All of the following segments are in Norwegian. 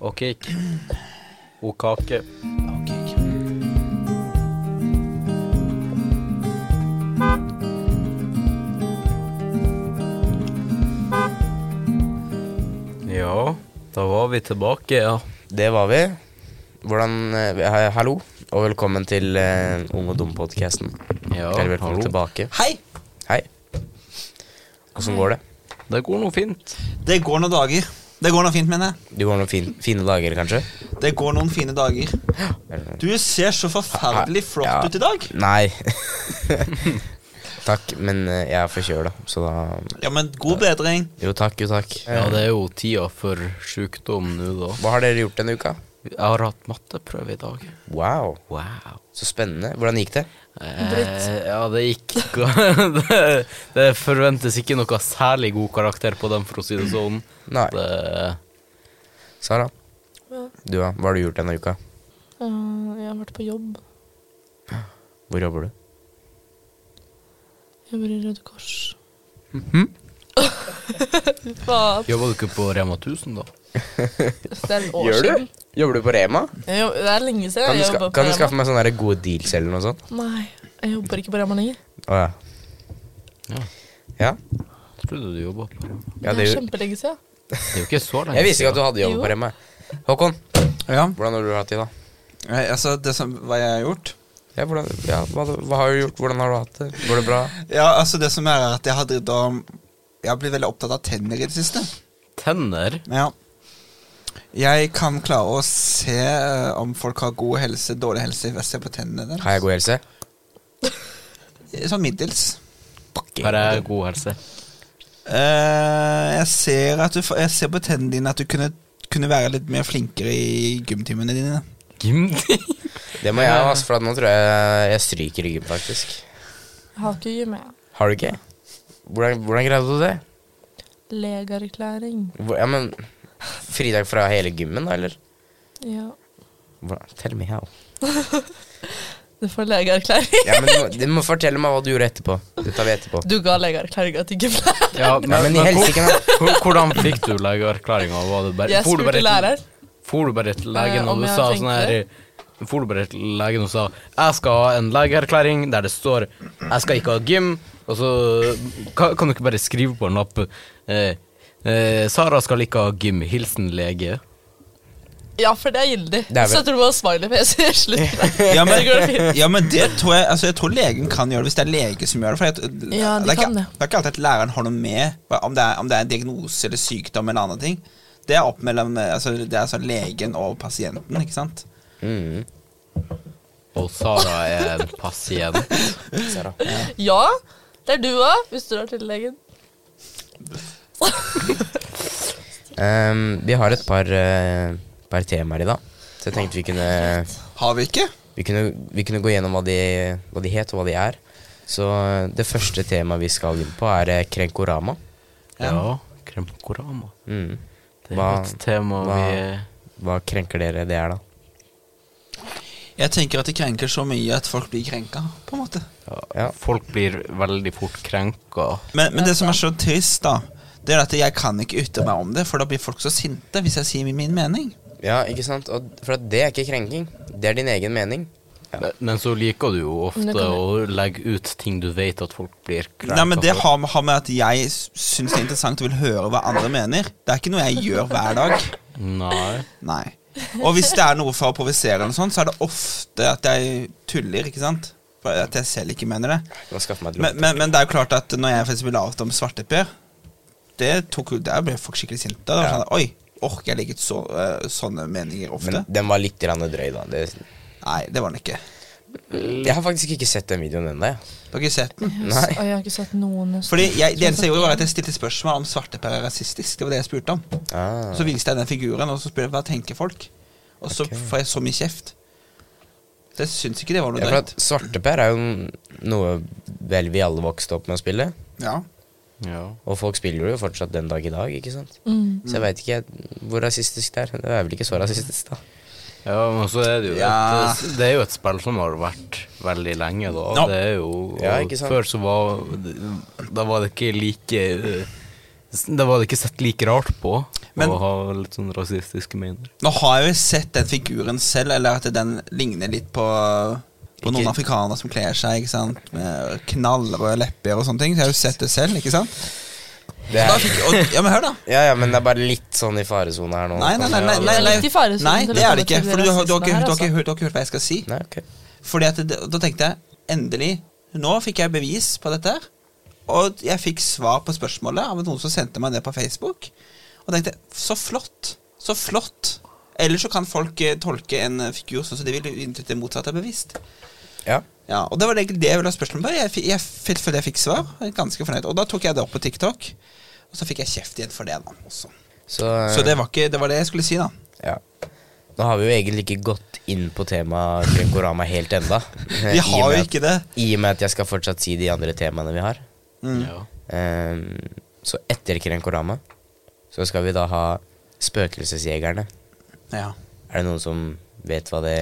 og kik og kake. Ja, da var vi tilbake, ja. Det var vi. Hvordan eh, vi- he- Hallo, og velkommen til eh, Ung og dum-podkasten. Ja, Eller velkommen hallo. tilbake. Hei! Hei. Åssen går det? Det går nå fint. Det går noen dager. Det går noe fint, mener jeg. Du har noen fin, fine dager, kanskje? Det går noen fine dager. Eller- Du ser så forferdelig flott Ja. ut i dag. Nei. takk, men eh, jeg er forkjøla, så da Ja, men god bedring. Jo takk, jo takk. Ja, det er jo tida for sjukdom nå, da. Hva har dere gjort denne uka? Jeg har hatt matteprøve i dag. Wow, Wow. så spennende. Hvordan gikk det? Eh, ja, det gikk det, det forventes ikke noe særlig god karakter på den, for å si det sånn. Nei. Det, Sara, Ja. du, ja, hva har du gjort denne uka? Eh, jeg har vært på jobb. Hvor jobber du? Jeg jobber i Røde Kors. Mhm. Fy faen. jobber du ikke på Rema 1000, da? Det er et år siden. Jobber du på Rema? Jeg jobb- Det er lenge siden Kan du, jeg ska jobba kan du på skaffe meg sånne der gode deals eller noe sånt? Nei, jeg jobber ikke på Rema lenger. Å ja. Ja. Ja, Trodde du jobba på Rema. ja det det er gjorde kjempelenge siden. Det er jo ikke så lenge Jeg visste ikke at du hadde jobb Jo. på Rema. Håkon, Ja, hvordan har du hatt det, da? eh, altså, det som, hva jeg har gjort Ja, hvordan, ja hva, hva har du gjort? Hvordan har du hatt det? Går det bra? Ja, altså, det som er, er at jeg har drevet om Jeg har blitt veldig opptatt av tenner i det siste. Tenner? Ja. Jeg kan klare å se eh, om folk har god helse, dårlig helse, hvis jeg ser på tennene deres. Har jeg god helse? Sånn middels. Har jeg god helse? Eh, jeg, ser at du, f- jeg ser på tennene dine at du kunne, kunne være litt mer flinkere i gymtimene dine. Gimdi? Det må jeg ha, ass, for at nå tror jeg jeg stryker i gym, faktisk. Jeg har ikke gym, jeg. Har du ikke? Hvordan, hvordan greide du det? Legeerklæring. Hvor, ja, men Fridag fra hele gymmen, da, eller? Ja. Hvordan? Tell me how. Du får legeerklæring. Ja, men du må, du må fortelle meg hva du gjorde etterpå. Det tar vi etterpå. Du ga legeerklæringa til gymlæreren. Ja, Ja, men i helsike, da. hvor- hvordan fikk du legeerklæringa? Var det bare- Jeg for du bare spurte til- læreren. For du bare til legen Eh, og om du jeg sa tenkte sånn her For du bare til legen og sa Jeg skal ha en legeerklæring der det står Jeg skal ikke ha gym Og så kan, kan du ikke bare skrive på en lapp eh, eh, Sara skal ikke ha gym Hilsen lege Ja, for det er gyldig. Det er vel- Så jeg tror du må ha smileyfjeser. Slutt. Ja, men, Det går fint. ja, men det tror jeg Altså, jeg tror legen kan gjøre det hvis det er lege som gjør det. For jeg, Ja, de det, er ikke, kan det. det er ikke alltid at læreren har noe med hva- om det, er, om det er en diagnose eller sykdom eller annen ting. Det er opp mellom eh, altså, Det er sånn legen og pasienten, ikke sant? Mm. Og Sara er en pasient Sara. Ja, det er du òg, hvis du drar til legen. Ehm, vi har et par, eh, par temaer i dag, så jeg tenkte vi kunne, Har vi ikke? vi kunne, vi kunne gå gjennom hva de, hva de het og hva de er. Så eh, det første temaet vi skal inn på, er eh, Krenkorama. Ja, Kremkorama Mm. Det er Hva- et tema hva- vi Hva krenker dere det er, da? Jeg tenker at det krenker så mye at folk blir krenka, på en måte. Ja. Folk blir veldig fort krenka Men, men det som er så trist, da, det er at jeg kan ikke ytre meg om det, for da blir folk så sinte hvis jeg sier min mening. ja, ikke sant? Og, for at det er ikke krenking. Det er din egen mening. men, men så liker du jo Men det ofte kan å legge ut ting du vet at folk blir krenka Nei, men Det for. har, har med at jeg s- syns det er interessant og vil høre hva andre mener. Det er ikke noe jeg gjør hver dag. Nei Nei. Og hvis det er noe for å provosere, eller noe sånt, så er det ofte at jeg tuller. ikke sant? For at jeg selv ikke mener det. Du må skaffe meg et Men, lån. men, men det er jo klart at når jeg faktisk ble laget om svarteper, det tok jo, der ble folk skikkelig sinte. Da var det sånn, Oi, orker jeg legge ut så, eh, sånne meninger ofte? Men den var litt grann drøy, da. Det, Nei, det var den ikke. Mm. jeg har faktisk ikke sett den videoen ennå. jeg. Dere har ikke sett den? Nei. Å, Jeg har ikke sett noen nesten. Fordi jeg, Det eneste jeg gjorde, var at jeg stilte spørsmål om svarteper er rasistisk. Det var det jeg spurte om. Ah. Så viste jeg den figuren, og så spurte jeg hva tenker folk. Og så Ok. får jeg så mye kjeft. Så jeg syns ikke det var noe Ja, for at drøyt. Svarteper er jo noe vel vi alle vokste opp med å spille. Ja. Ja Og folk spiller jo fortsatt den dag i dag, ikke sant? Mm. Så jeg veit ikke hvor rasistisk det er. Det er vel ikke så rasistisk, da. Ja, men så er det jo Ja. et, Det er jo et spill som har vært veldig lenge, da. Ja. Det er jo og Ja, ikke sant? Før så var Da var det ikke like eh, Da var det ikke sett like rart på. Men- og ha litt sånn rasistiske mener. Nå har jeg jo sett den figuren selv, eller at den ligner litt på på noen Ikke- afrikanere som kler seg ikke sant? med knallrøde lepper og sånne ting. Så jeg har jo sett det selv, ikke sant? Det Da er, fikk, og, ja, men hør, da. ja, ja, men det er bare litt sånn i faresone her nå. Nei, nei, nei. nei, nei, Det er nei, litt i faresonen Nei, til å det er det komme ikke. til For du, har- du, har, ikke- du, har, rasismen her, ikke, altså. hørt- du har ikke hørt hva jeg skal si. Nei, ok. Fordi at det, Da tenkte jeg endelig Nå fikk jeg bevis på dette. her Og jeg fikk svar på spørsmålet av noen som sendte meg det på Facebook. Og tenkte så flott. Så flott. Ellers så kan folk eh, tolke en eh, figur sånn som de vil, inntil det motsatte er bevisst. Ja. Ja, og Det var egentlig det jeg ville ha spørsmål på. Jeg, fi- jeg fi- følte jeg fikk svar. Jeg er Ganske fornøyd. Og da tok jeg det opp på TikTok. Og så fikk jeg kjeft igjen for det. da også. Så, Så det var, ikke, det var det jeg skulle si, da. ja. Nå har vi jo egentlig ikke gått inn på temaet Grenkorama helt enda. Vi har jo ikke det. I og med at jeg skal fortsatt si de andre temaene vi har. Mm. Ja. Ehm, så etter Krenkorama så skal vi da ha Spøkelsesjegerne. Ja. Er det noen som vet hva det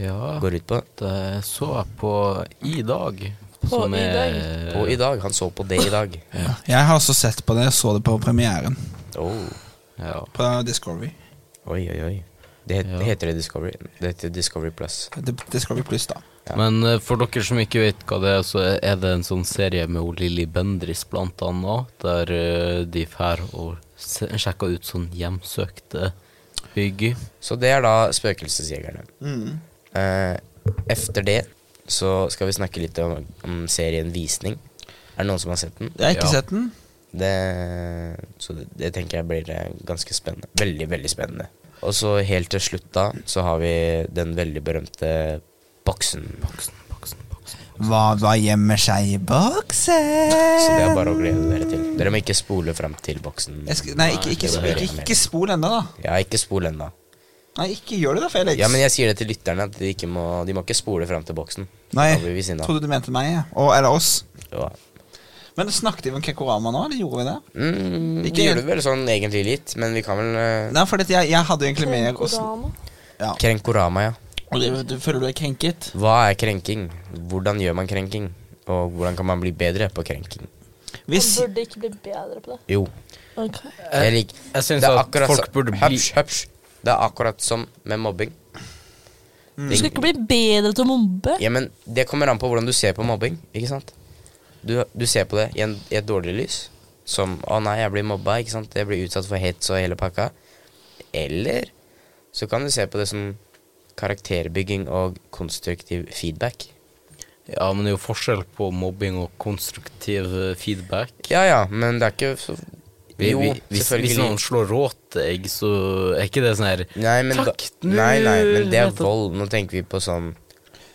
ja. går ut på? Det eh, så jeg på i dag. På som i er- dag? På i dag. Han så på det i dag. Jeg har også sett på det. Jeg så det på premieren Oh. Ja. på Discovery. Oi, oi, oi. Det het, Ja. heter det Discovery. Det heter Discovery Plus. Det- Discovery Pluss, da. Ja. Men eh, for dere som ikke vet hva det er, så er det en sånn serie med hun Lilly Bendriss blant annet, der eh, de fær og se- sjekker ut sånn hjemsøkte bygg. Så det er da Spøkelsesjegerne. Mm. Eh, efter det så skal vi snakke litt om, om serien Visning. Er det noen som har sett den? Jeg har ikke Ja. sett den. Det, så det, det tenker jeg blir eh, ganske spennende. Veldig, veldig spennende. Og så helt til slutt da, så har vi den veldig berømte boksen. Hva, hva gjemmer seg i Så det boksen? er bare å glede dere til. Dere må ikke spole frem til boksen. Jeg skal, nei, ikke, ikke, det ikke, hører jeg ikke, med. ikke spol ennå, da. Ja, ikke spol ennå. Nei, ikke gjør det da, Felix. Ja, men jeg sier det til lytterne, at de, ikke må, de må ikke spole frem til boksen. Nei, Da blir vi sinna. trodde du mente meg, ja. og, eller oss. Ja. Men snakket vi om Kekorama nå, eller gjorde vi det? Mm, Ikke vi gjør- gjorde det vel sånn egentlig litt, men vi kan vel eh, Nei, for dette- jeg, jeg hadde jo egentlig mer å sn- Krenkorama. ja. Krenkorama, ja. Og du- Du føler du er krenket? Hva er krenking? Hvordan gjør man krenking? Og hvordan kan man bli bedre på krenking? Hvis Man burde ikke bli bedre på det. Jo, Ok. jeg lik Eh, Jeg syns Det er at akkurat folk så- burde bli Hysj, hysj. Det er akkurat som med mobbing. Mm. Du skal ikke bli bedre til å mobbe. Ja, men Det kommer an på hvordan du ser på mobbing. ikke sant? Du, du ser på det i, en, i et dårlig lys. Som 'Å nei, jeg blir mobba'. ikke sant? Jeg blir utsatt for hets og hele pakka. Eller så kan du se på det som karakterbygging og konstruktiv feedback. Ja, men det er jo forskjell på mobbing og konstruktiv eh, feedback. Ja ja, men det er ikke så Vi, Jo, vi, hvis, hvis noen slår selvfølgelig. råteegg, så er ikke det sånn her Nei, men, da, Takk, nå nei, nei, men det er vet jeg- vold. Nå tenker vi på sånn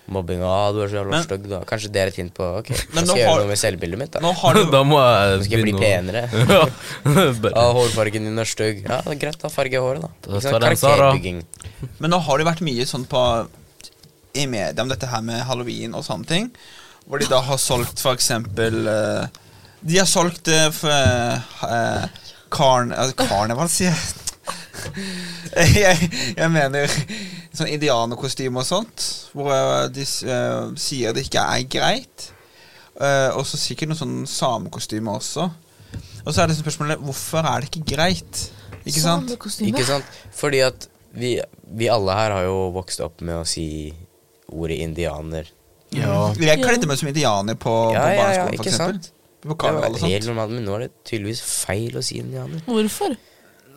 mobbing. Å, du er så jævla Men- stygg, da. Kanskje det er et hint på Ok, jeg Men nå skal gjøre har- noe med selvbildet mitt, da. Nå har du Da må jeg Nå skal jeg bli begynne penere. å- Ja. Ja, Bare- hårfargen din er stygg. Ja, det er greit, da farger jeg håret, da. Da Ikke sant, tar jeg en Zara. Karakterbygging. Men nå har det vært mye sånn på i media om dette her med halloween og sånne ting. Hvor de da har solgt for eksempel eh, De har solgt eh, for, eh, karn, eh, Karneval, sier jeg. jeg. Jeg mener sånn indianerkostyme og sånt. Hvor eh, de s- eh, sier det ikke er greit. Eh, og så sikkert noen sånn samekostyme også. Og så er det sånn spørsmålet hvorfor er det ikke greit? Ikke sant? Samekostyme. Ikke sant? Fordi at vi, vi alle her har jo vokst opp med å si ordet indianer. Ja. Jeg kledde meg som indianer på, Ja, på ja, ja, barneskolen, for ikke eksempel. sant? På Det karneval var og helt sånt. normalt, men nå er det tydeligvis feil å si indianer. Hvorfor?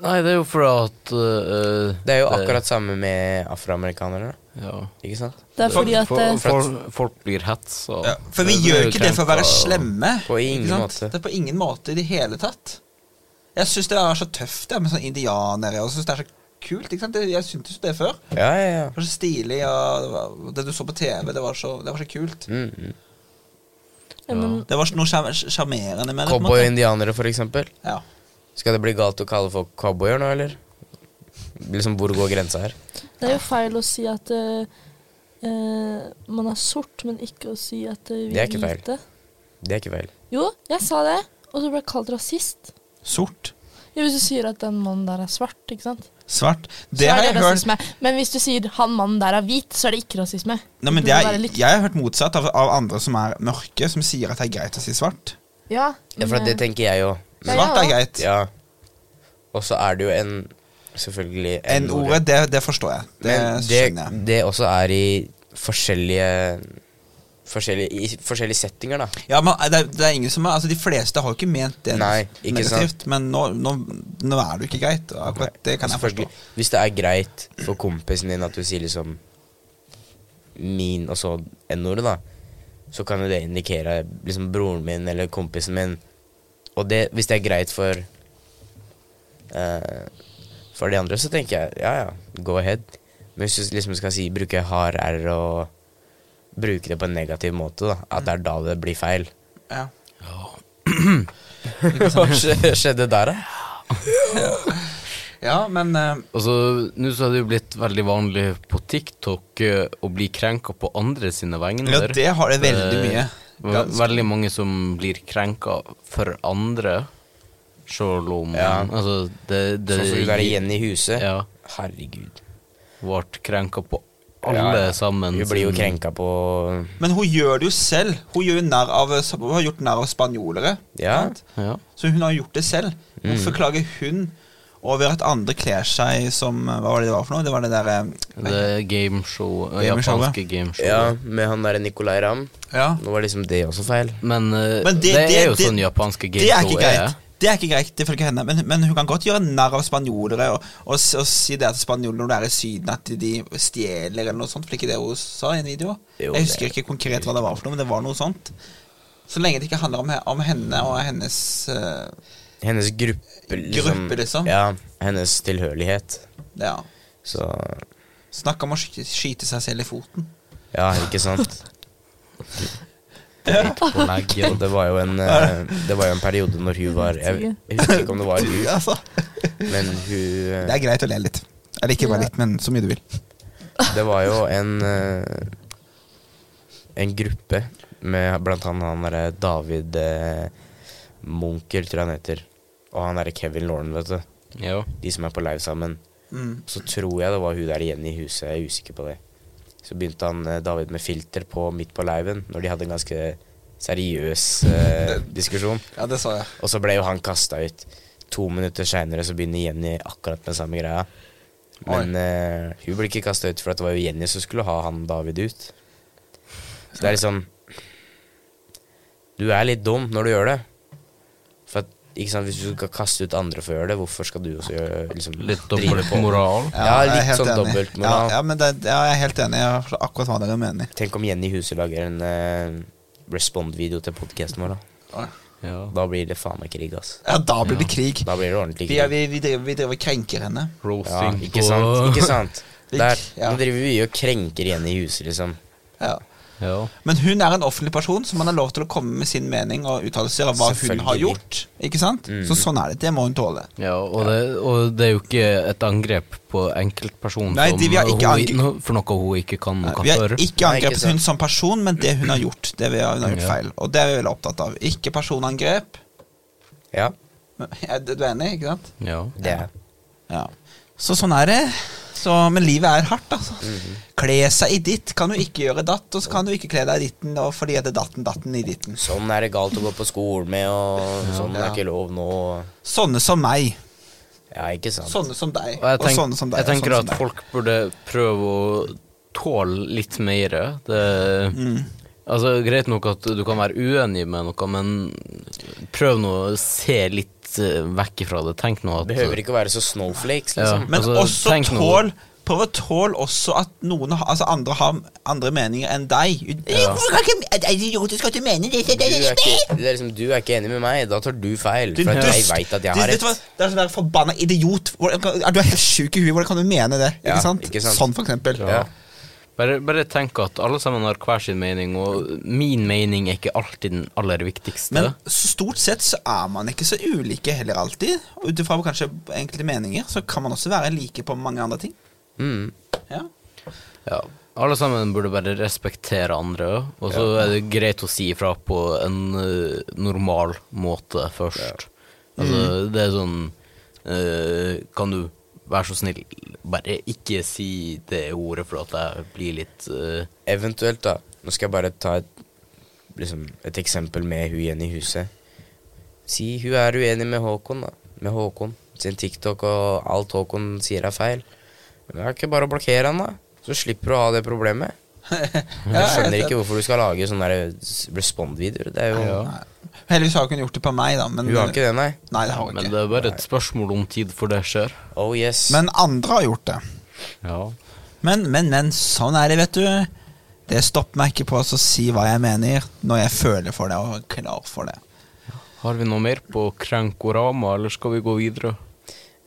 Nei, det er jo fordi at eh, Det er jo akkurat samme med afroamerikanere, da. ja. ikke sant? Det er fordi at for, eh, for, Folk blir hetsa. Ja, for vi gjør ikke det for å være slemme. På ingen ikke sant? måte. Det er på ingen måte i det hele tatt. Jeg syns det er så tøft det, med sånne indianere. Og jeg synes det er så kult. Ikke sant? Det- Jeg syntes jo det før. Ja, ja, ja. Det var så stilig, og det, var, det du så på TV, det var så, det var så kult. Mm, mm. ja, men, Det var så noe sjarm- sjarmerende med det. på en måte. Cowboy-indianere, for eksempel. Ja. Skal det bli galt å kalle folk cowboyer nå, eller? Liksom, hvor går grensa her? det er jo feil å si at eh, eh, man er sort, men ikke å si at eh, vi Det er ikke feil. hvite. Det er ikke feil. Jo, jeg sa det, og så ble jeg kalt rasist. Sort. Ja, hvis du sier at den mannen der er svart, ikke sant? Svart. Så Det har er jeg det hørt. rasisme. Men hvis du sier han mannen der er hvit, så er det ikke rasisme. Nei, men Det det burde er, være litt- jeg har hørt motsatt av, av andre som er mørke, som sier at det er greit å si svart. Ja, eh, Ja, for at det tenker jeg jo. Ja, Svart ja. er greit. Ja. Og så er det jo en Selvfølgelig N-ordet, det, det forstår jeg. Det Men skjønner jeg. det, det også er i forskjellige Forskjellige, i forskjellige settinger, da. Ja, men det, er- det er ingen som er, altså De fleste har jo ikke ment det Nei, ikke negativt, men nå, nå, nå er det jo ikke greit. og Akkurat Det kan jeg forstå. Selvfølgelig. Hvis det er greit for kompisen din at du sier liksom min og så n-ordet, da, så kan jo det indikere liksom broren min eller kompisen min. Og det, hvis det er greit for eh, For de andre, så tenker jeg ja ja, go ahead. Men hvis du liksom skal si bruke hard r og bruke det på en negativ måte, da, at det er da det blir feil. Ja. Hva skje- skjedde der, da? ja, men eh, Og så, Altså, Nå så er det jo blitt veldig vanlig på TikTok eh, å bli krenka på andre sine vegner. Ja, det har det veldig Eh, mye. ve- Ganske. Veldig mange som blir krenka for andre, sjøl om Ja. altså, det, det, Sånn som hun der Jenny Huse. Ja. Herregud. Ble krenka på alle Ja, ja. sammen. Hun blir jo sin- krenka på Men hun gjør det jo selv. Hun, gjør jo narr av, hun har gjort narr av spanjolere. Ja. Mm. sant? Ja. Så hun har gjort det selv. Hvorfor klager hun over at andre kler seg som Hva var det det var for noe? Det eh, var det derre Det gameshow, Gameshowet. japanske gameshow. Ja, med han derre Nicolay Ramm. Ja. Nå var liksom det også feil. Men, eh, Men det, det- er det- jo det- sånn japanske Det er gameshow ikke greit. Det er ikke greit, ifølge henne. Men, men hun kan godt gjøre narr av spanjolere og, og, s- og si det til spanjoler når det er i Syden at de stjeler eller noe sånt. For ikke det hun sa i en video. Jo, Jeg husker det- ikke konkret hva det var for noe, men det var noe sånt. Så lenge det ikke handler om, he- om henne og hennes eh, Hennes gruppe, liksom. Gruppe, liksom. Ja, hennes tilhørighet. Ja. Så Snakk om å sky- skyte seg selv i foten. Ja, ikke sant? På leggen. Og det var jo en eh, Det var jo en periode når hun var Jeg, jeg husker ikke om det var hun, Altså, men hun eh, det er greit å le litt. Eller ikke bare litt, men så mye du vil. Det var jo en eh, En gruppe med blant annet han derre David eh, Munker, tror jeg han heter. Og han derre Kevin Lauren, vet du. Ja. De som er på live sammen. Mm. Så tror jeg det var hun der igjen i huset, jeg er usikker på det. Så begynte han eh, David med filter på midt på liven, når de hadde en ganske seriøs eh, diskusjon. Ja, det så jeg. Og så ble jo han kasta ut. To minutter seinere så begynner Jenny akkurat med samme greia. Men eh, hun ble ikke kasta ut, for at det var jo Jenny som skulle ha han David ut. Så det er liksom Du er litt dum når du gjør det. For at, ikke sant, hvis du skal kaste ut andre for å gjøre det, hvorfor skal du også gjøre liksom, Litt drive dobbelt moral. Ja, jeg er litt helt sånn enig. dobbeltmoral. Ja, ja, men det, ja, jeg er helt enig. Jeg forstår akkurat hva dere mener. Tenk om Jenny Huse lager en eh, Respond-video til podcasten vår, da. Ja. Da blir det faen meg krig, ass. Ja, da blir det krig. Da blir det ordentlig Vi, krig. er- vi, vi, driver, vi driver og krenker henne. Ja, Roasting ikke sant? Ikke sant? Vi- Der. ja. Nå driver vi og krenker Jenny Huse, liksom. Ja. Ja. Men hun er en offentlig person, så man har lov til å komme med sin mening og uttalelser av hva hun har Selvfølgelig. gjort. Ikke sant? Så sånn er det. Det må hun tåle. Ja, og, Det, og det er jo ikke et angrep på enkeltpersonen Nei, de- vi har ikke angre- for noe hun ikke kan noe Vi har for. ikke Nei, ikke angrepet sant. hun som person, men det hun har gjort. Det vi har, hun har gjort Ja. feil. Og det er vi veldig opptatt av. Ikke personangrep. Ja, Men- Er du enig, ikke sant? Ja. det er Ja. Så sånn er det. Så, men livet er hardt, altså. Kle seg i ditt kan du ikke gjøre datt, og så kan du ikke kle deg i ditten og fordi at det datten datten i ditten. Sånn er det galt å gå på skolen med, og sånn er Ja. ikke lov nå. og- Sånne som meg. Ja, ikke sant? Sånne som deg. Og jeg, og tenk, sånne som deg. jeg og tenker sånne som at deg. folk burde prøve å tåle litt mer. Det, Mm. altså, greit nok at du kan være uenig med noe, men prøv nå å se litt eh, vekk ifra det. Tenk nå at Behøver ikke å være så snowflakes, Ja. liksom. Men Altså, også tenk nå- tål Prøv å tåle også at noen har, altså andre har andre meninger enn deg. Hvorfor kan ikke er det idiotisk at du mener det? Du er, ikke, det er liksom, du er ikke enig med meg, da tar du feil. For at jeg veit at jeg har vet du hva? rett. Det er sånn der forbanna idiot. Hvordan kan- Er du helt sjuk i huet? Hvordan kan du mene det? Ikke, Ja, sant? ikke sant. Sånn, for eksempel. Ja. bare, bare tenk at alle sammen har hver sin mening, og min mening er ikke alltid den aller viktigste. Men så stort sett så er man ikke så ulike heller alltid. Og Ut ifra kanskje enkelte meninger, så kan man også være like på mange andre ting. Mm. Ja. Ja. Alle sammen burde bare respektere andre, og så er det greit å si ifra på en eh, normal måte først. Altså, det er sånn eh, Kan du være så snill, bare ikke si det ordet, for at jeg blir litt eh, Eventuelt, da. Nå skal jeg bare ta et, liksom, et eksempel med hun igjen i huset. Si hun er uenig med Håkon, da. Med Håkon. sin TikTok og alt Håkon sier er feil. Men det er ikke bare å blokkere han, da. Så slipper du å ha det problemet. Jeg skjønner ikke hvorfor du skal lage sånne der s- respond-videoer. Det er jo Ja. Heldigvis har hun ikke gjort det på meg, da. Men, Hun har ikke det, nei. Nei, det har hun Men ikke. det er bare et spørsmål om tid for det skjer. Oh yes. Men andre har gjort det. Ja. Men, men, men sånn er det, vet du. Det stopper meg ikke på å si hva jeg mener, når jeg føler for det og er klar for det. Har vi noe mer på Krenkorama, eller skal vi gå videre?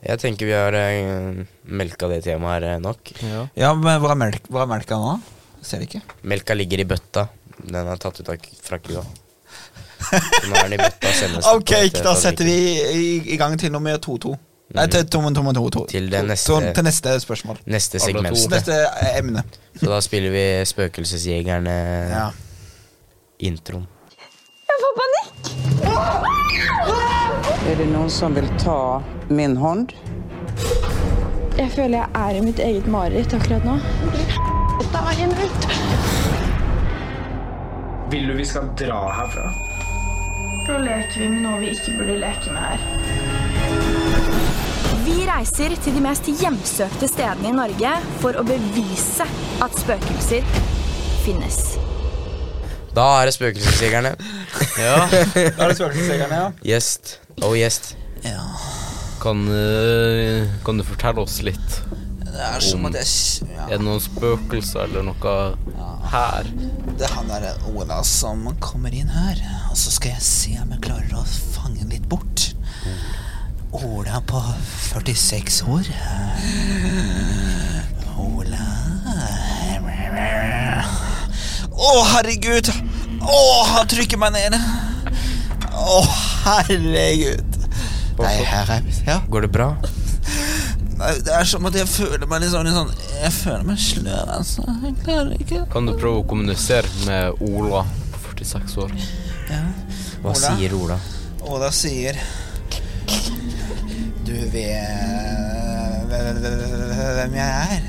Jeg tenker vi har eh, melka det temaet her eh, nok. Ja. Ja, men hvor er, melk, hvor er melka nå? Jeg ser det ikke. Melka ligger i bøtta. Den er tatt ut av k- fra kua. Så nå er den i bøtta og sendes Ok, på et, eh, da setter vi fabrikk. i, i gang til nummer 2-2. Nei, til, til, nummer 2-2. Mhm. Til det neste- til, til neste spørsmål. neste Alle to. segment. Neste emne. Så da spiller vi Ja. Spøkelsesjegerne-introen. Er det noen som vil ta min hånd? Jeg føler jeg er i mitt eget mareritt akkurat nå. Dagen ut! Vil du vi skal dra herfra? Nå leker vi med noe vi ikke burde leke med her. Vi reiser til de mest hjemsøkte stedene i Norge for å bevise at spøkelser finnes. Da er det Spøkelsesjegerne. Da er det spøkelsesjegerne, ja. Gjest. Oh, gjest. Kan, eh, kan du fortelle oss litt? Det er som at jeg s- ja. Er det noen spøkelser eller noe her? Det er han der eh, Ola som kommer inn her, og så skal jeg se om jeg klarer å fange han litt bort. Ola på 46 år. Ola Å, herregud! Å, han trykker meg ned. Å, herregud. Nei, her er Ja. Går det bra? Nei, Det er som at jeg føler meg litt sånn, litt sånn Jeg føler meg sløv, altså. Jeg klarer ikke Kan du prøve å kommunisere med Ola, 46 år? Hva Ola? sier Ola? Oda sier Du vet hvem jeg er.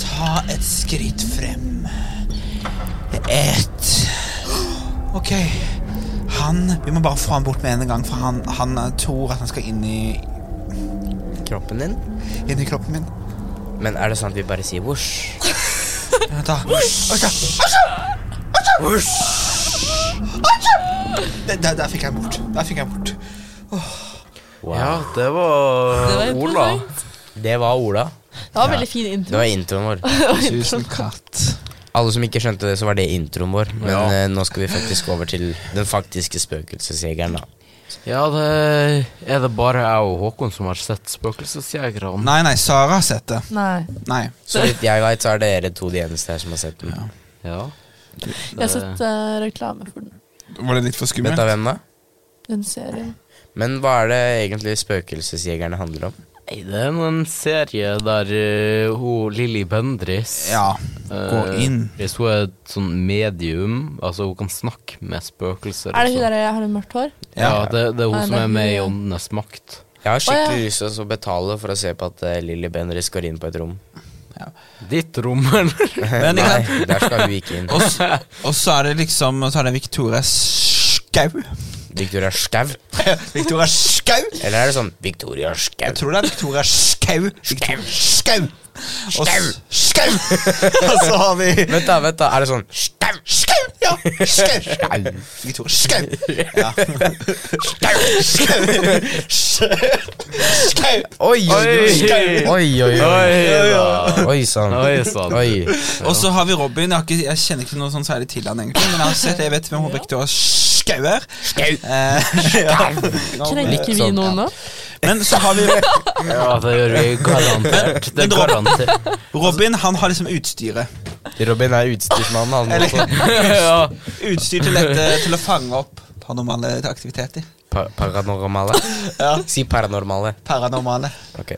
Ta et skritt frem. Ett. Ok. Han Vi må bare få han bort med en gang, for han, han tror at han skal inn i, Kroppen din? inn i kroppen min. Men er det sånn at vi bare sier vosj? Vent, da. Oi, da. Der, der, der fikk jeg den bort. Der fikk jeg den bort. Wow. Ja, det var, Det var Ola. interessant. Det var Ola. Det var veldig fin Det intro. var introen vår. Tusen katt. Alle som ikke skjønte det, så var det introen vår. Men Ja. eh, nå skal vi faktisk over til den faktiske spøkelsesjegeren, da. Ja, det er det bare jeg og Håkon som har sett Spøkelsesjegerne. Nei, nei, Sara har sett det. Nei. Nei. Så vidt jeg veit, så er dere to de eneste her som har sett den. Ja. Jeg har sett eh, reklame for den, Var det litt for Vet skummelt? du av hvem da? den serien. Men hva er det egentlig Spøkelsesjegerne handler om? Nei, det er en serie der eh, hun Lilly Bendriss Ja. eh, Gå inn. Hvis hun er et sånn medium, altså hun kan snakke med spøkelser. Er og det hun sånn. der jeg har en mørkt hår? Ja, det, det er hun Nei, som det er er med i hun, ja. Åndenes makt. Jeg har ja. skikkelig lyst til å betale for å se på at uh, Lilly Bendriss går inn på et rom. Ditt rom, eller? Men ikke Nei, sant? der skal hun ikke inn. Og s- Og så er det liksom Så er det Victoria Skau. Victoria Skau? Victoria Skau? Eller er det sånn Victoria Skau? Jeg tror det er Victoria Skau. Victoria Skau. Og s- Skau! Og så har vi Vent, da, vent da, er det sånn Skau! Skau! Ja! Skau! Victoria Skau. Ja. Skau! Skau! Skau! Oi, oi, oi! Oi, oi, oi! da. Oi sann. Oi, sann. Oi. Og så har vi Robin. Jeg, har ikke, jeg kjenner ikke noe sånn særlig til han egentlig, men jeg har sett, jeg vet hvem hun Victoria Skau er. Eh, ja. Krenker vi sånn, noen nå? Men så har vi Ja, det gjør vi garantert. Det Men er dra- garantert. Robin han har liksom utstyret. Robin er utstyrsmannen, han også. Ja. Utstyr til, dette, til å fange opp paranormale aktiviteter. Pa paranormale? Ja. Si paranormale. Paranormale. Ok.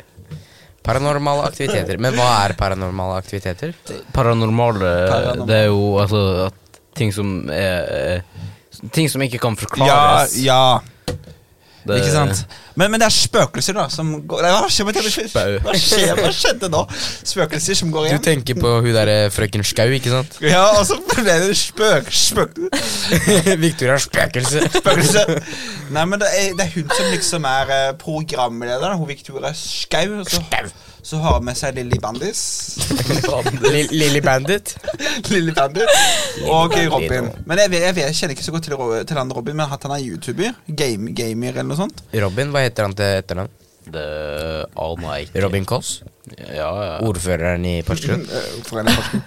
Paranormale aktiviteter. Men hva er paranormale aktiviteter? Paranormale, Paranormale. det er jo altså at ting som er eh, Ting som ikke kan forklares. ja. Det- Ikke sant? Men, men det er spøkelser, da. Som går, Nei, hva, skjer med Spau. TV? hva, skjer, hva skjedde nå? Spøkelser som går Du hjem. tenker på hun derre frøken Skau, ikke sant? Ja, og så ble det spøk, spøk, Victoria er spøkelse. spøkelse. Nei, men det er, det er hun som liksom er eh, programleder. Hun Victoria Skau. og Så, så har hun med seg Lilly Bandis. Li- Lily Bandit. Lilly Bandit og Bandit, Robin. og- Men jeg, vet- jeg, vet- jeg kjenner ikke så godt til, Ro- til han Robin, men at han er youtuber. Game, gamer eller noe sånt. Robin, hva heter han til etternavn? Det aner jeg ikke. Robin Koss? Ja, ja. Ordføreren i Porsgrunn. Eh, for en forskning.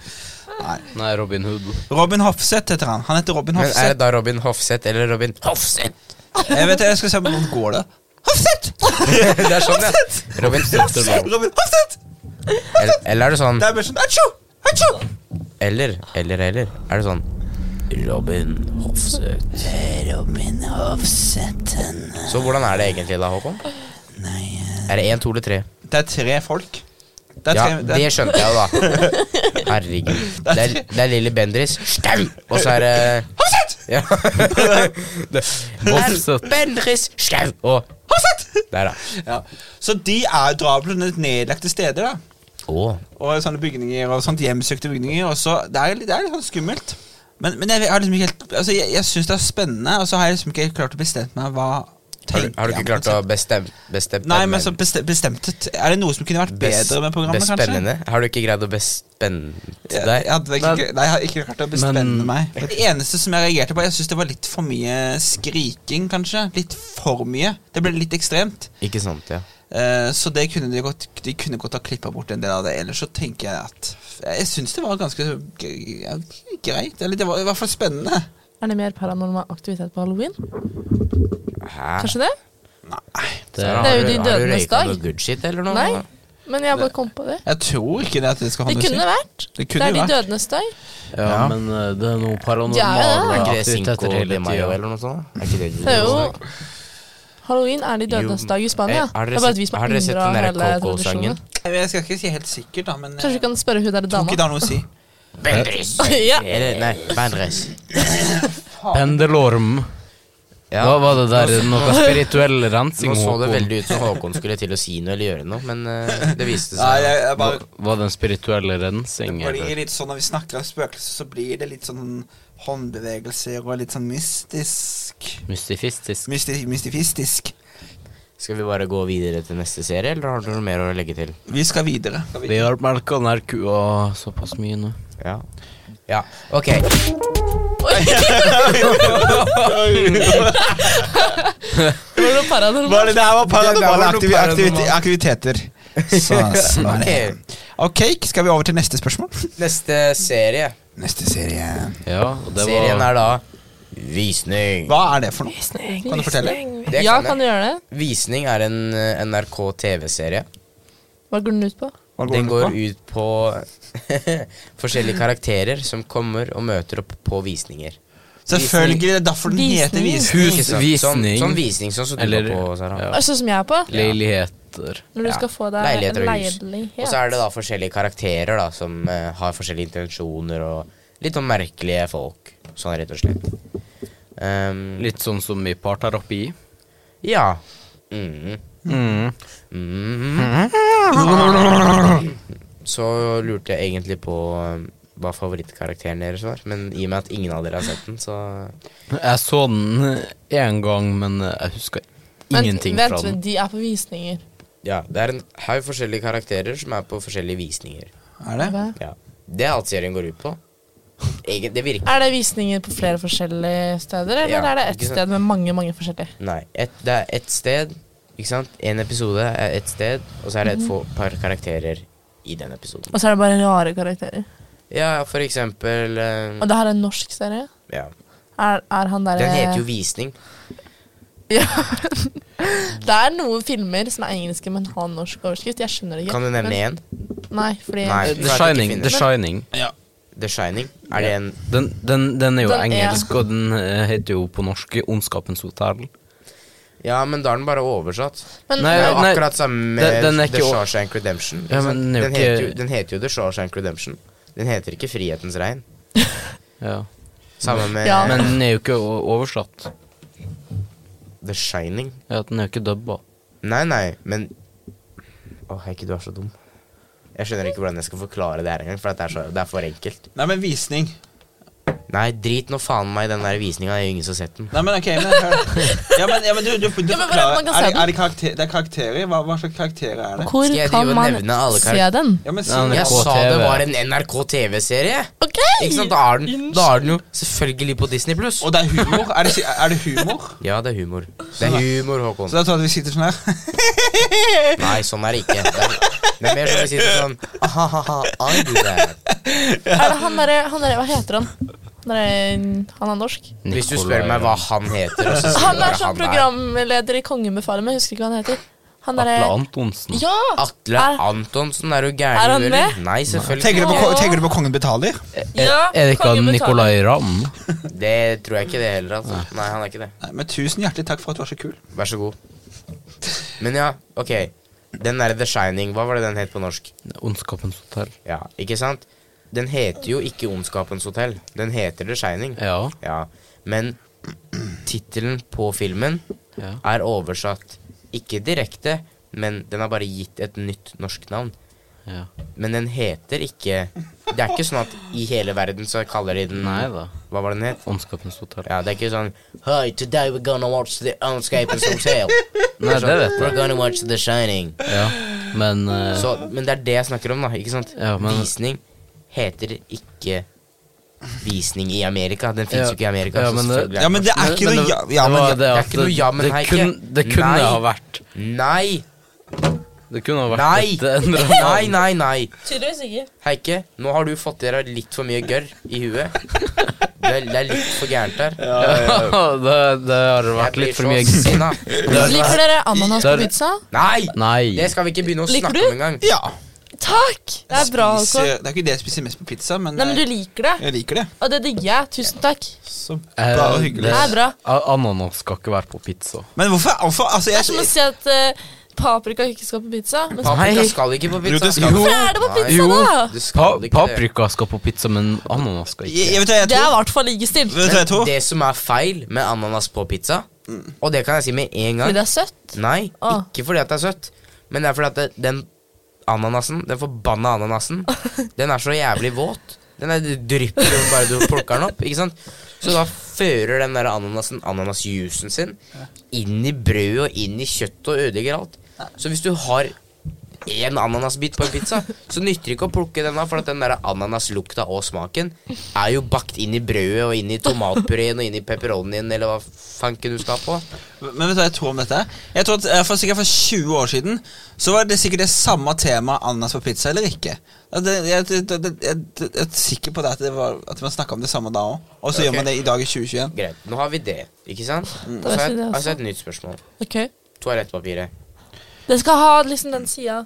Nei. Nei, Robin Hood. Robin Hofseth heter han. Han heter Robin Men er det Hofseth. da Robin Hofseth eller Robin Hofseth? Jeg vet det, jeg skal se om hvordan går det. Hofseth! Det er sånn, ja. Robin Hofseth. Robin Hofseth! Eller, eller er det sånn Det er bare sånn Atsjo! Atsjo! Eller, eller, eller Er det sånn Robin Hofseth Robin Hofseth Så hvordan er det egentlig da, Håkon? Er det en, to eller tre? Det er tre folk. Det er Ja, tre, det det er, skjønte jeg jo da Herregud Det er, det er Lille Bendris Stau! Og så er det Hofseth! ja. Hofseth. Bendris Stau! Og Hofseth! der da Ja. Så de er drar på sånne nedlagte steder, da. Åh Og sånne bygninger og sånt hjemsøkte bygninger. Og så, det, er, litt- det er litt sånn skummelt. Men, men jeg, har liksom ikke helt Altså, jeg, jeg syns det er spennende, og så har jeg liksom ikke helt klart å bestemme meg hva har, du- tenker har du jeg om ikke klart å konseptet. bestemme, bestemme Nei, men så beste, bestemt Er det noe som kunne vært bedre med programmet, kanskje? Bespennende Har du ikke greid å bestemme Jeg, deg? jeg, hadde ikke, nei, jeg har ikke klart å bestemme Men- meg. Det eneste som jeg reagerte på, jeg syns det var litt for mye skriking, kanskje. Litt for mye. Det ble litt ekstremt. Ikke sant, ja Eh, så det kunne de godt De kunne godt ha klippa bort en del av det. Ellers så tenker jeg at Jeg syns det var ganske g- ja, greit. Eller det var i hvert fall spennende. Er det mer paranormal aktivitet på halloween? Hæ? Kanskje det? Det er jo de dødenes dag. Har du røyka noe good shit eller noe? Nei. Men jeg bare kom på det. Jeg tror ikke det at det skal ha Det noe å si. kunne vært. Det Det kunne er de vært. dødenes dag. Ja, men eh, det er noe Ja, paranormale Er ikke det Cinco aktiviteter de hele Mayo tida. eller noe sånt? Er ikke det Det er jo Halloween er de dødenes Jo, dag i Spania. eh, har dere det er bare at vi sett- som har har dere sett endra den der hele Coco-sangen? tradisjonen. Jeg skal ikke si helt sikkert, da, men Kanskje jeg du kan spørre hun tror der ikke dama. det har noe å si. Bendris ja. Eller, nei, Bendris Pendelorm. Ja. Hva var det der? Noe spirituell rensing? Nå så det Håkon? veldig ut som Håkon skulle til å si noe eller gjøre noe, men eh, det viste Nei, seg jeg, jeg bare Var det en spirituell rensing? Det eller? blir litt sånn Når vi snakker om spøkelser, så blir det litt sånn håndbevegelser og litt sånn mystisk. Mystifistisk. Mysti mystifistisk. Skal vi bare gå videre til neste serie, eller har du noe mer å legge til? Vi skal videre. Vi har melka den her kua såpass mye nå. Ja. ja. Ok. Det var noe paranormal. Var det, det her var paranormale Det der var noe aktivi- aktivi- aktiviteter. Sånn. Ok. Ok, skal vi over til neste spørsmål? Neste serie. Neste serie. Ja, og det Serien var er da Visning. Hva er det for noe? Kan du fortelle? Det Ja, kan jeg. kan du gjøre det? Visning er en eh, NRK TV-serie. Hva går den ut på? Hva Den går på? ut på forskjellige karakterer som kommer og møter opp på visninger. Selvfølgelig, det er derfor den heter Visning. Visning. Ikke sant? Sånn, Husvisning. sånn visning, sånn som du Eller- var på, Sara. ja. Sånn som jeg er på? leiligheter. Når du Ja. skal få deg Leiligheter en og hus. leilighet. Og så er det da forskjellige karakterer da som eh, har forskjellige intensjoner og litt sånn merkelige folk. Sånn rett og slett. Ehm, Litt sånn som i parterapi. Ja. Mhm. Mhm. Så lurte jeg egentlig på eh, hva favorittkarakteren deres var, men i og med at ingen av dere har sett den, så Jeg så den én gang, men jeg husker Vent, ingenting vent, fra den. de er på visninger. Ja, det er en haug forskjellige karakterer som er på forskjellige visninger. Er det? Ja. Det er alt serien går ut på. Egen, det virker Er det visninger på flere forskjellige steder, eller Ja, er det ett ikke sant. sted med mange mange forskjellige? Nei. Et, det er ett sted, ikke sant? En episode er ett sted, og så er det et få, par karakterer i den episoden. Og så er det bare rare karakterer. Mm. Ja, for eksempel eh, Og det her er en norsk serie. Ja. Er, er han der Den heter jo Visning. Ja. Det er noen filmer som er engelske, men har norsk overskrift. Jeg skjønner det ikke. Kan du nevne Men- én? Nei, fordi Nei. The Shining. The Shining. The Shining. Er det en Den, den, den er jo Den er- engelsk, og den eh, heter jo på norsk 'Ondskapens hotell'. Ja, men da er den bare oversatt. Men Nei, Det er jo Eh, nei, akkurat samme med den- den er The ikke o- Shawshank Redemption. ikke Ja, sant? men den er jo den, heter jo, ikke- den heter jo The Shawshank Redemption. Den heter ikke Frihetens regn. Ja. Samme med Ja. Men den er jo ikke o- oversatt. The Shining. Ja, den er jo ikke dubba. Nei, nei, men Åh, Heikki, du er så dum. Jeg skjønner ikke hvordan jeg skal forklare det her engang, for det er, så, det er for enkelt. Nei, men visning. Nei, drit nå faen meg i den der visninga, det er jo ingen som har sett den. Nei, men ok, men hør. Ja, men, ja, men du, du, du Ja, men hvordan forklarer. man kan Er se det, den? er det, karakter, det er karakterer? Hva, hva slags karakterer er det? Hvor Skal jeg drive kan og nevne alle man se karak- den? Ja, men si, Ja, men- Jeg NRK sa det TV. var en NRK TV-serie! Ok! Ikke sant, Da er den, da er den jo selvfølgelig på Disney pluss. Og det er humor? Er det, er det humor? Ja, det er humor. Det er humor, Håkon. Så det er sånn at vi sitter sånn her? Nei, sånn er det ikke. Det er, det er mer som å si sånn «Ahaha, I do that. Er det han derre han derre- Hva heter han? Han derre- han er norsk. Hvis du spør meg hva han heter, og så sier Han du bare er sånn programleder i Kongebefalet, men jeg husker ikke hva han heter. Han derre Atle Antonsen. Ja! Atle Er- Antonsen, er du gæren? Er han eller? med? Nei, selvfølgelig. Tenker du, på, ko- tenker du på Kongen betaler? ja Er det ikke han kongebefal. Nicolay Ramm? Det tror jeg ikke det heller, altså. Nei, han er ikke det. Nei, men Tusen hjertelig takk for at du var så kul. Vær så god. Men ja, ok. Den derre The Shining, hva var det den het på norsk? Ondskapens hotell. Ja, ikke sant? Den heter jo ikke Ondskapens hotell. Den heter The Shining. Ja. Ja, men tittelen på filmen Ja. er oversatt ikke direkte, men den har bare gitt et nytt norsk navn. ja. Men den heter ikke Det er ikke sånn at i hele verden så kaller de den Nei da. Hva var den het? Ondskapens hotell. Ja, det er ikke sånn Hi, today we're gonna watch The Unscapers Hotel. Nei, det vet We're jeg. gonna watch The Shining. Ja. Men eh, Så, men det er det jeg snakker om, da. Ikke sant? Ja, men- Visning heter ikke visning i Amerika. Den fins Ja. jo ikke i Amerika. Ja, så men det- selvfølgelig er Ja, men det er ikke noe ja, ja, det men, var ja. det er at ikke noe ja, men det, hei, kun, ikke. det kunne Nei. ha vært Nei! Det kunne ha vært Nei! et endret Nei, navn. nei, nei. Tydeligvis ikke. Heike, nå har du fått i deg litt for mye gørr i huet. Det er, det er litt for gærent her. det, det har vært litt for mye sinna. Liker dere ananas på Der- pizza? Nei! Nei. Det skal vi ikke begynne å Liker snakke du? om engang. Ja. Takk! Det er bra, altså. Spiser, det er ikke det jeg spiser mest på pizza, men, Nei, men du eh, liker det. jeg liker det. Og det digger jeg. Tusen takk. Så Eh, bare hyggelig. Det er bra. A- Ananas skal ikke være på pizza. Men hvorfor, hvorfor altså, Det er som å jeg, si at eh, paprika ikke skal på pizza. Men Paprika Nei. skal ikke på Jo, pizza. det skal hvorfor er det på Nei. pizza, da? Du Pa skal ikke det. paprika skal på pizza, men ananas skal jeg, ikke. jeg vet hva jeg Det er i tror. hvert fall likestilt. Vet du hva jeg tror? Det som er feil med ananas på pizza, Mm. og det kan jeg si med en Fordi gang det er søtt. Nei, Ah. ikke fordi at det er søtt, men det er fordi at det, den ananasen, den forbanna ananasen, den er så jævlig våt. Den er, det drypper jo bare du plukker den opp, ikke sant? Så da fører den der ananasen, ananasjuicen sin, inn i brødet og inn i kjøttet og ødelegger alt. Så hvis du har én ananasbit på en pizza, så nytter det ikke å plukke den av, for at den der ananaslukta og smaken er jo bakt inn i brødet og inn i tomatpureen og inn i pepperonien eller hva fanken du skal ha på. Men vet du hva jeg tror om dette? Jeg tror at eh, for Sikkert for 20 år siden Så var det sikkert det samme tema ananas på pizza eller ikke. At det- Jeg, det- det- det- jeg, jeg, jeg er sikker på det at, det var, at man snakka om det samme da òg. Og så gjør Ok. man det i dag i 2021. Greit, nå har vi det, ikke sant? Og Da så vet har vi jeg det altså også. et nytt spørsmål. Ok. Toalettpapiret. Det skal ha liksom den sida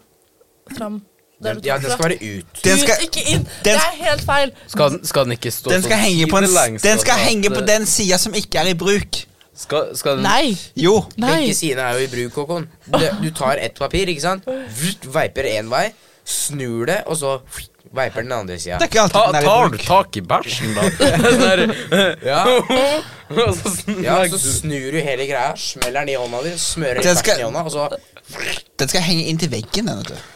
fram. Der Den, du ja, tok den fra. skal Mm. være ut. Den Ut, skal, ikke inn! Det den- er helt feil. Skal, den- skal den ikke stå den skal sånn henge på, en, sidelengs, den, skal sånn at- henge på den sida som ikke er i bruk. Skal, skal den Nei. Jo. Nei. Begge sidene er jo i bruk, Håkon. Du, du tar ett papir, ikke sant? Vrt, Veiper én vei, snur det, og så veiper den andre sida. Det er ikke alltid Ta, den er i tar du bruk. tak i bæsjen, da? Den der- Ja. og så sn- ja, så snur du hele greia, smeller den i hånda di, smører Den den skal- bæsjen i hånda, og så Den skal henge inntil veggen. Den, vet du.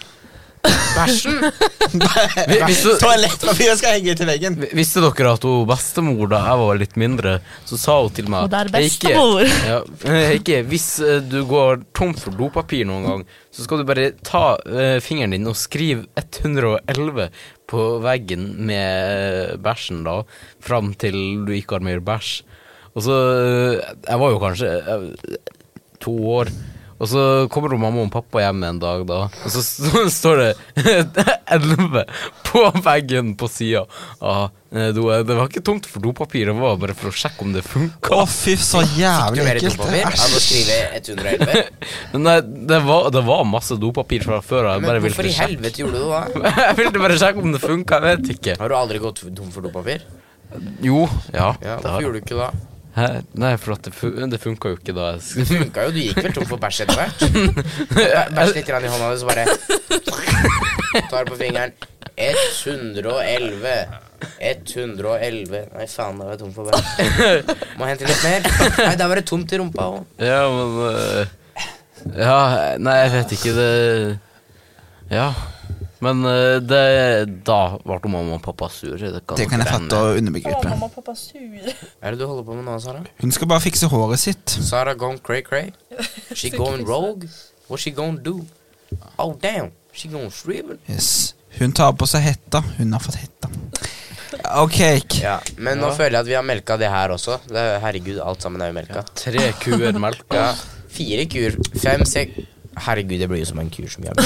Bæsjen! Hvis du- Toalettpapiret skal henge inntil veggen. Visste dere at hun bestemor da jeg var litt mindre, så sa hun til meg Og det er «Heikki, bestemor. ja, Heikki, hvis eh, du går tom for dopapir noen gang, så skal du bare ta eh, fingeren din og skrive 111 på veggen med eh, bæsjen, da, fram til du ikke har mer bæsj. Og så eh, Jeg var jo kanskje eh, to år. Og så kommer hun mamma og pappa hjem en dag, da, og så s- står det 11 på veggen på sida av eh, doen. Det var ikke tomt for dopapir, det var bare for å sjekke om det funka. Å, fy, så Du jævlig mer ekkelt. dopapir av å Æsj. skrive 111. Men nei, det var, det var masse dopapir fra før, og jeg Men bare hvorfor ville i sjekke. helvete gjorde du det da? Jeg ville bare sjekke om det funka, jeg vet ikke. Har du aldri gått tom for dopapir? Jo, ja. Ja, det har- hvorfor gjorde du ikke det? da? Hæ? Nei, for at det, fun det funka jo ikke da. jeg s- funka jo, du gikk vel tom for bæsj etter hvert? Bæsj litt grann i hånda di, så bare Tar på fingeren. 111. 111 Nei, faen, da var jeg tom for bæsj. Må hente litt mer. Nei, der var det tomt i rumpa òg. Ja, men øh, Ja, nei, jeg vet ikke det Ja. Men øh, det Da ble mamma og pappa sure. Det kan, Det kan jeg fatte eh. og underbegripe. mamma og pappa sure. Hva er det du holder på med nå, Sara? Hun skal bare fikse håret sitt. Sara gone cray cray? She going rogue? What she gonna do? Oh damn, she gonna shrivel? Yes. Hun tar på seg hetta. Hun har fått hetta. OK. Ja, men nå føler jeg at vi har melka det her også. Det er, herregud, alt sammen er jo melka. Tre kuer melk. Ja, fire kur. Fem, seks Herregud, det blir jo som en kur som jævlig.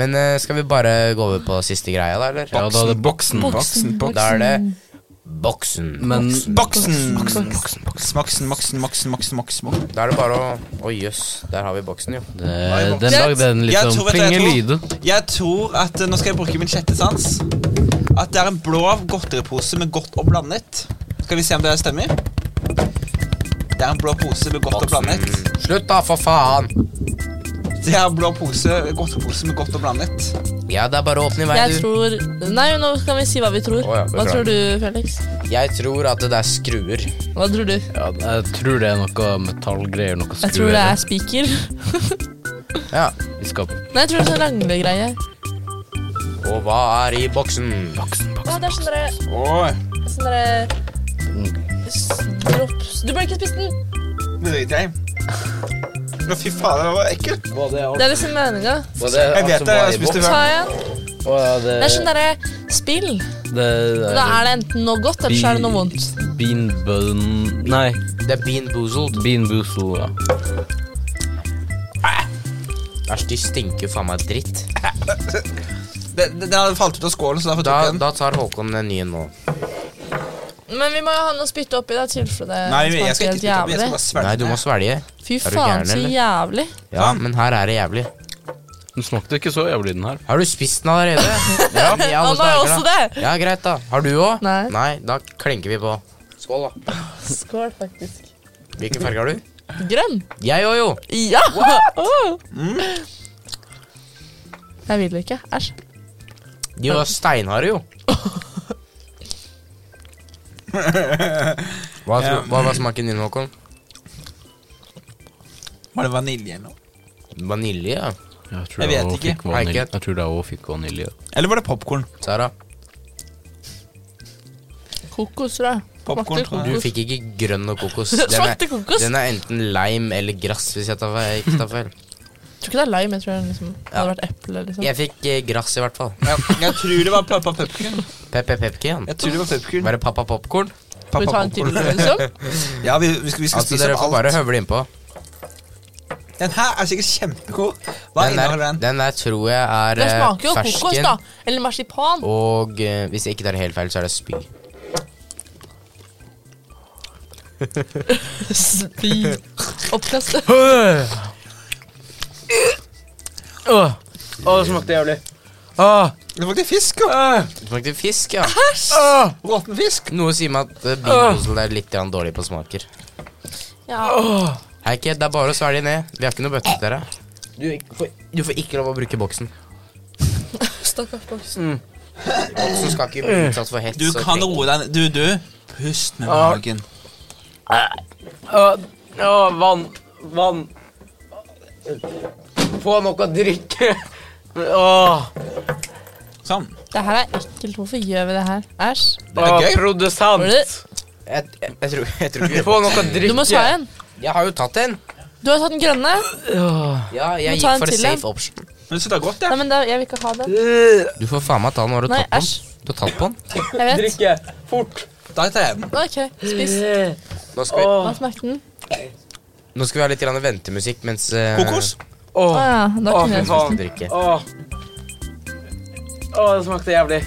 Men eh, skal vi bare gå over på siste greia, da, eller? Ja, da er det boksen. Boksen, boksen, Da er det boksen. Men Boksen, boksen. Boksen, boksen, boksen. boksen, boksen, boksen, boksen, boksen. Da er det bare å Å jøss, der har vi boksen, jo. Det, den lagde en litt Jeg sånn tror- vet du hva jeg plingelyd. tror? Jeg tror at eh, Nå skal jeg bruke min sjette sans. At det er en blå godteripose med godt og blandet. Skal vi se om det stemmer? Det er en blå pose med godt og blandet. Slutt, da, for faen! Det er en blå pose, godteripose med godt og blandet. Ja, det er bare å åpne i vei, du. Jeg tror Nei, nå kan vi si hva vi tror. Å ja, Hva beklager. tror du, Felix? Jeg tror at det der skruer. Hva tror du? Ja, jeg tror det er noe metallgreier. Noe Jeg tror det er spiker. Ja. i skapet. Nei, jeg tror det er sånn ranglegreie. Og hva er i boksen? Boksen, boksen. Å, det er sånn derre Åh, Sånn derre s- drops Du burde ikke spist den! det driter jeg i. Å, Fy fader, det var ekkelt. Var det alt? Det er liksom meninga. Var det Jeg alt vet som det, jeg var i spiste boksen? før. Ta igjen. Å, ja, det, Det er sånn derre spill. Eh, det, det Da er det enten noe godt, eller så er det noe vondt. Bean bun... Nei, Det er bean boozled. bean boozle, ja. Æsj, de stinker faen meg dritt. Det- det- Den hadde falt ut av skålen, så derfor Da, tok jeg den. da tar Håkon den nye nå. Men vi må jo ha noe å spytte oppi, da, i tilfelle det Nei, jeg skal smaker ikke helt spytte opp, jeg skal jævlig. bare svelge. Nei, du må svelge. Fy Er du faen, gæren, så eller? jævlig. Ja, men her er det jævlig. Den smakte ikke så jævlig, den her. Har du spist den allerede? Ja, men jeg Han har jo også det. Ja, greit, da. Har du òg? Nei. Nei, da klinker vi på. Skål, da. Skål, faktisk. Hvilken farge har du? Grønn. Jeg òg, jo. Ja! Åh. Jeg vil ikke. Æsj. De var steinharde, jo. Hva, Ja. hva var smaken din, Håkon? Var det vanilje eller noe? Vanilje, ja. Jeg, tror Jeg jeg, vet også ikke. fikk vanilje. Nei, ikke. jeg tror jeg også fikk vanilje. Eller var det popkorn? Sara, Kokos, tror jeg. Popcorn, Smakte tror jeg. du kokos. fikk ikke grønn og kokos. Smakte kokos. den er enten lime eller grass, hvis jeg tar feil. ikke tar feil. Jeg tror ikke det er lime. Jeg tror det liksom, hadde vært eple. Liksom. Jeg fikk eh, grass, i hvert fall. Jeg, jeg tror det var pappa popcorn. Pep-pep-pepkin. Jeg tror det var popcorn. Var det pappa popkorn? Skal vi ta en til, liksom? Ja, vi, vi skal, vi skal Altså, spise dere opp får alt. bare høvle innpå. Den her er sikkert kjempegod. Hva den, inneholder der, den? den der tror jeg er Det eh, smaker jo kokos, fersken. da. Eller marsipan. Og eh, hvis jeg ikke tar helt feil, så er det spy. Spy. Oppkaste. Åh, Åh, det smakte jævlig. Åh, Det smakte fisk. jo. Det smakte fisk, ja. Åh, Råtten fisk. Noe sier meg at uh, bilbosel er litt grann dårlig på smaker. Ja. Hei, kid, det er bare å svelge ned. Vi har ikke noe bøtte til dere. Du, får- du får ikke lov å bruke boksen. Stakkars boks. Boksen skal ikke bli utsatt for hets. Du og kan krenk. roe deg ned. Du, du. Pust med magen. Åh, åh, vann, vann. Få noe å drikke. Åh, Sånn. Det her er ekkelt. Hvorfor gjør vi det her? Æsj. er åh, gøy. Var produsent. det- Jeg, jeg, jeg, tror, jeg tror ikke Få noe å drikke. Du må ta en. Jeg har jo tatt en. Du har tatt den grønne. Ja, jeg Men ta en gikk for til, safe da. option. Men så det er godt, Nei, ja. men da, jeg vil ikke ha det. Du får faen meg ta den når du Nei, har tatt æsj. den. Du har tatt på den. Jeg vet. Drikke, fort. Da tar jeg den. OK, spis. Nå skal vi, Hva smakte den? nå skal vi ha litt grann ventemusikk mens eh, Kokos. Å Åh, ja, da Å, kunne fy jeg faen. spist. skal drikke. åh. Åh, det smakte jævlig.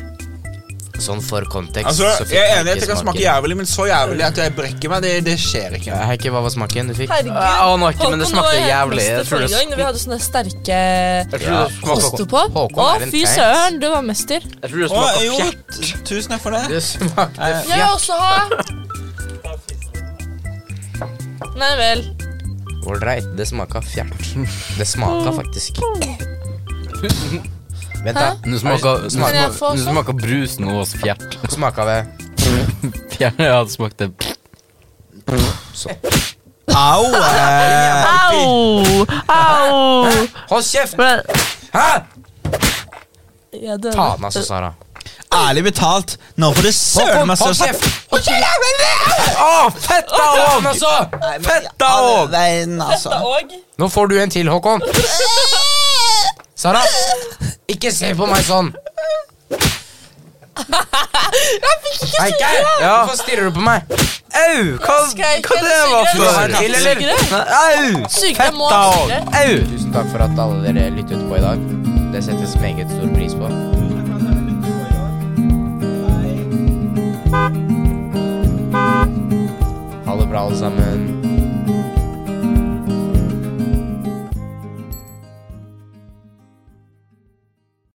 Sånn for kontekst. Altså, så fikk jeg er jeg enig i at ikke det kan smake smaken. jævlig, men så jævlig at jeg brekker meg, det, det skjer ikke. Hei, ikke hva var smaken du fikk? Herregud. Jeg aner ikke, men det Håkon, var smakte helt jævlig. mest Jeg tror det, forrige gang, når vi hadde sånne sterke jeg tror det smakte, ostepå. Å, Håkon er en fy teit. søren, du var mester. jeg tror det Å, smakte jo, fjert. t- tusen takk for det. Det smakte Jeg vil også ha. Nei vel. Ålreit, det smaka fjert. Det smaka faktisk. Vent, da. Nå smaker, Kan Smak- jeg få nå sånn? smaker brusen vår fjert. Smaka det. Fjert, ja, det smakte Au! eh. Au! Au! Hold kjeft! Men- Hæ?! Jeg døde. Faen, altså, Sara. Ærlig betalt, nå får du søren Håkon, meg hold kjeft! Å, fett da òg! Altså. Fett da òg! Veien, altså. Og Nå får du en til, Håkon. Sara, ikke se på meg sånn. Eike, hvorfor stirrer du på meg? Au! Hva, jeg ikke hva det var for noe? Skal jeg ikke sugere? Au! Sugere, jeg må ha sugere. Au! Tusen takk for at alle dere lyttet på i dag. Det settes meget stor pris på. Ha det bra, alle sammen.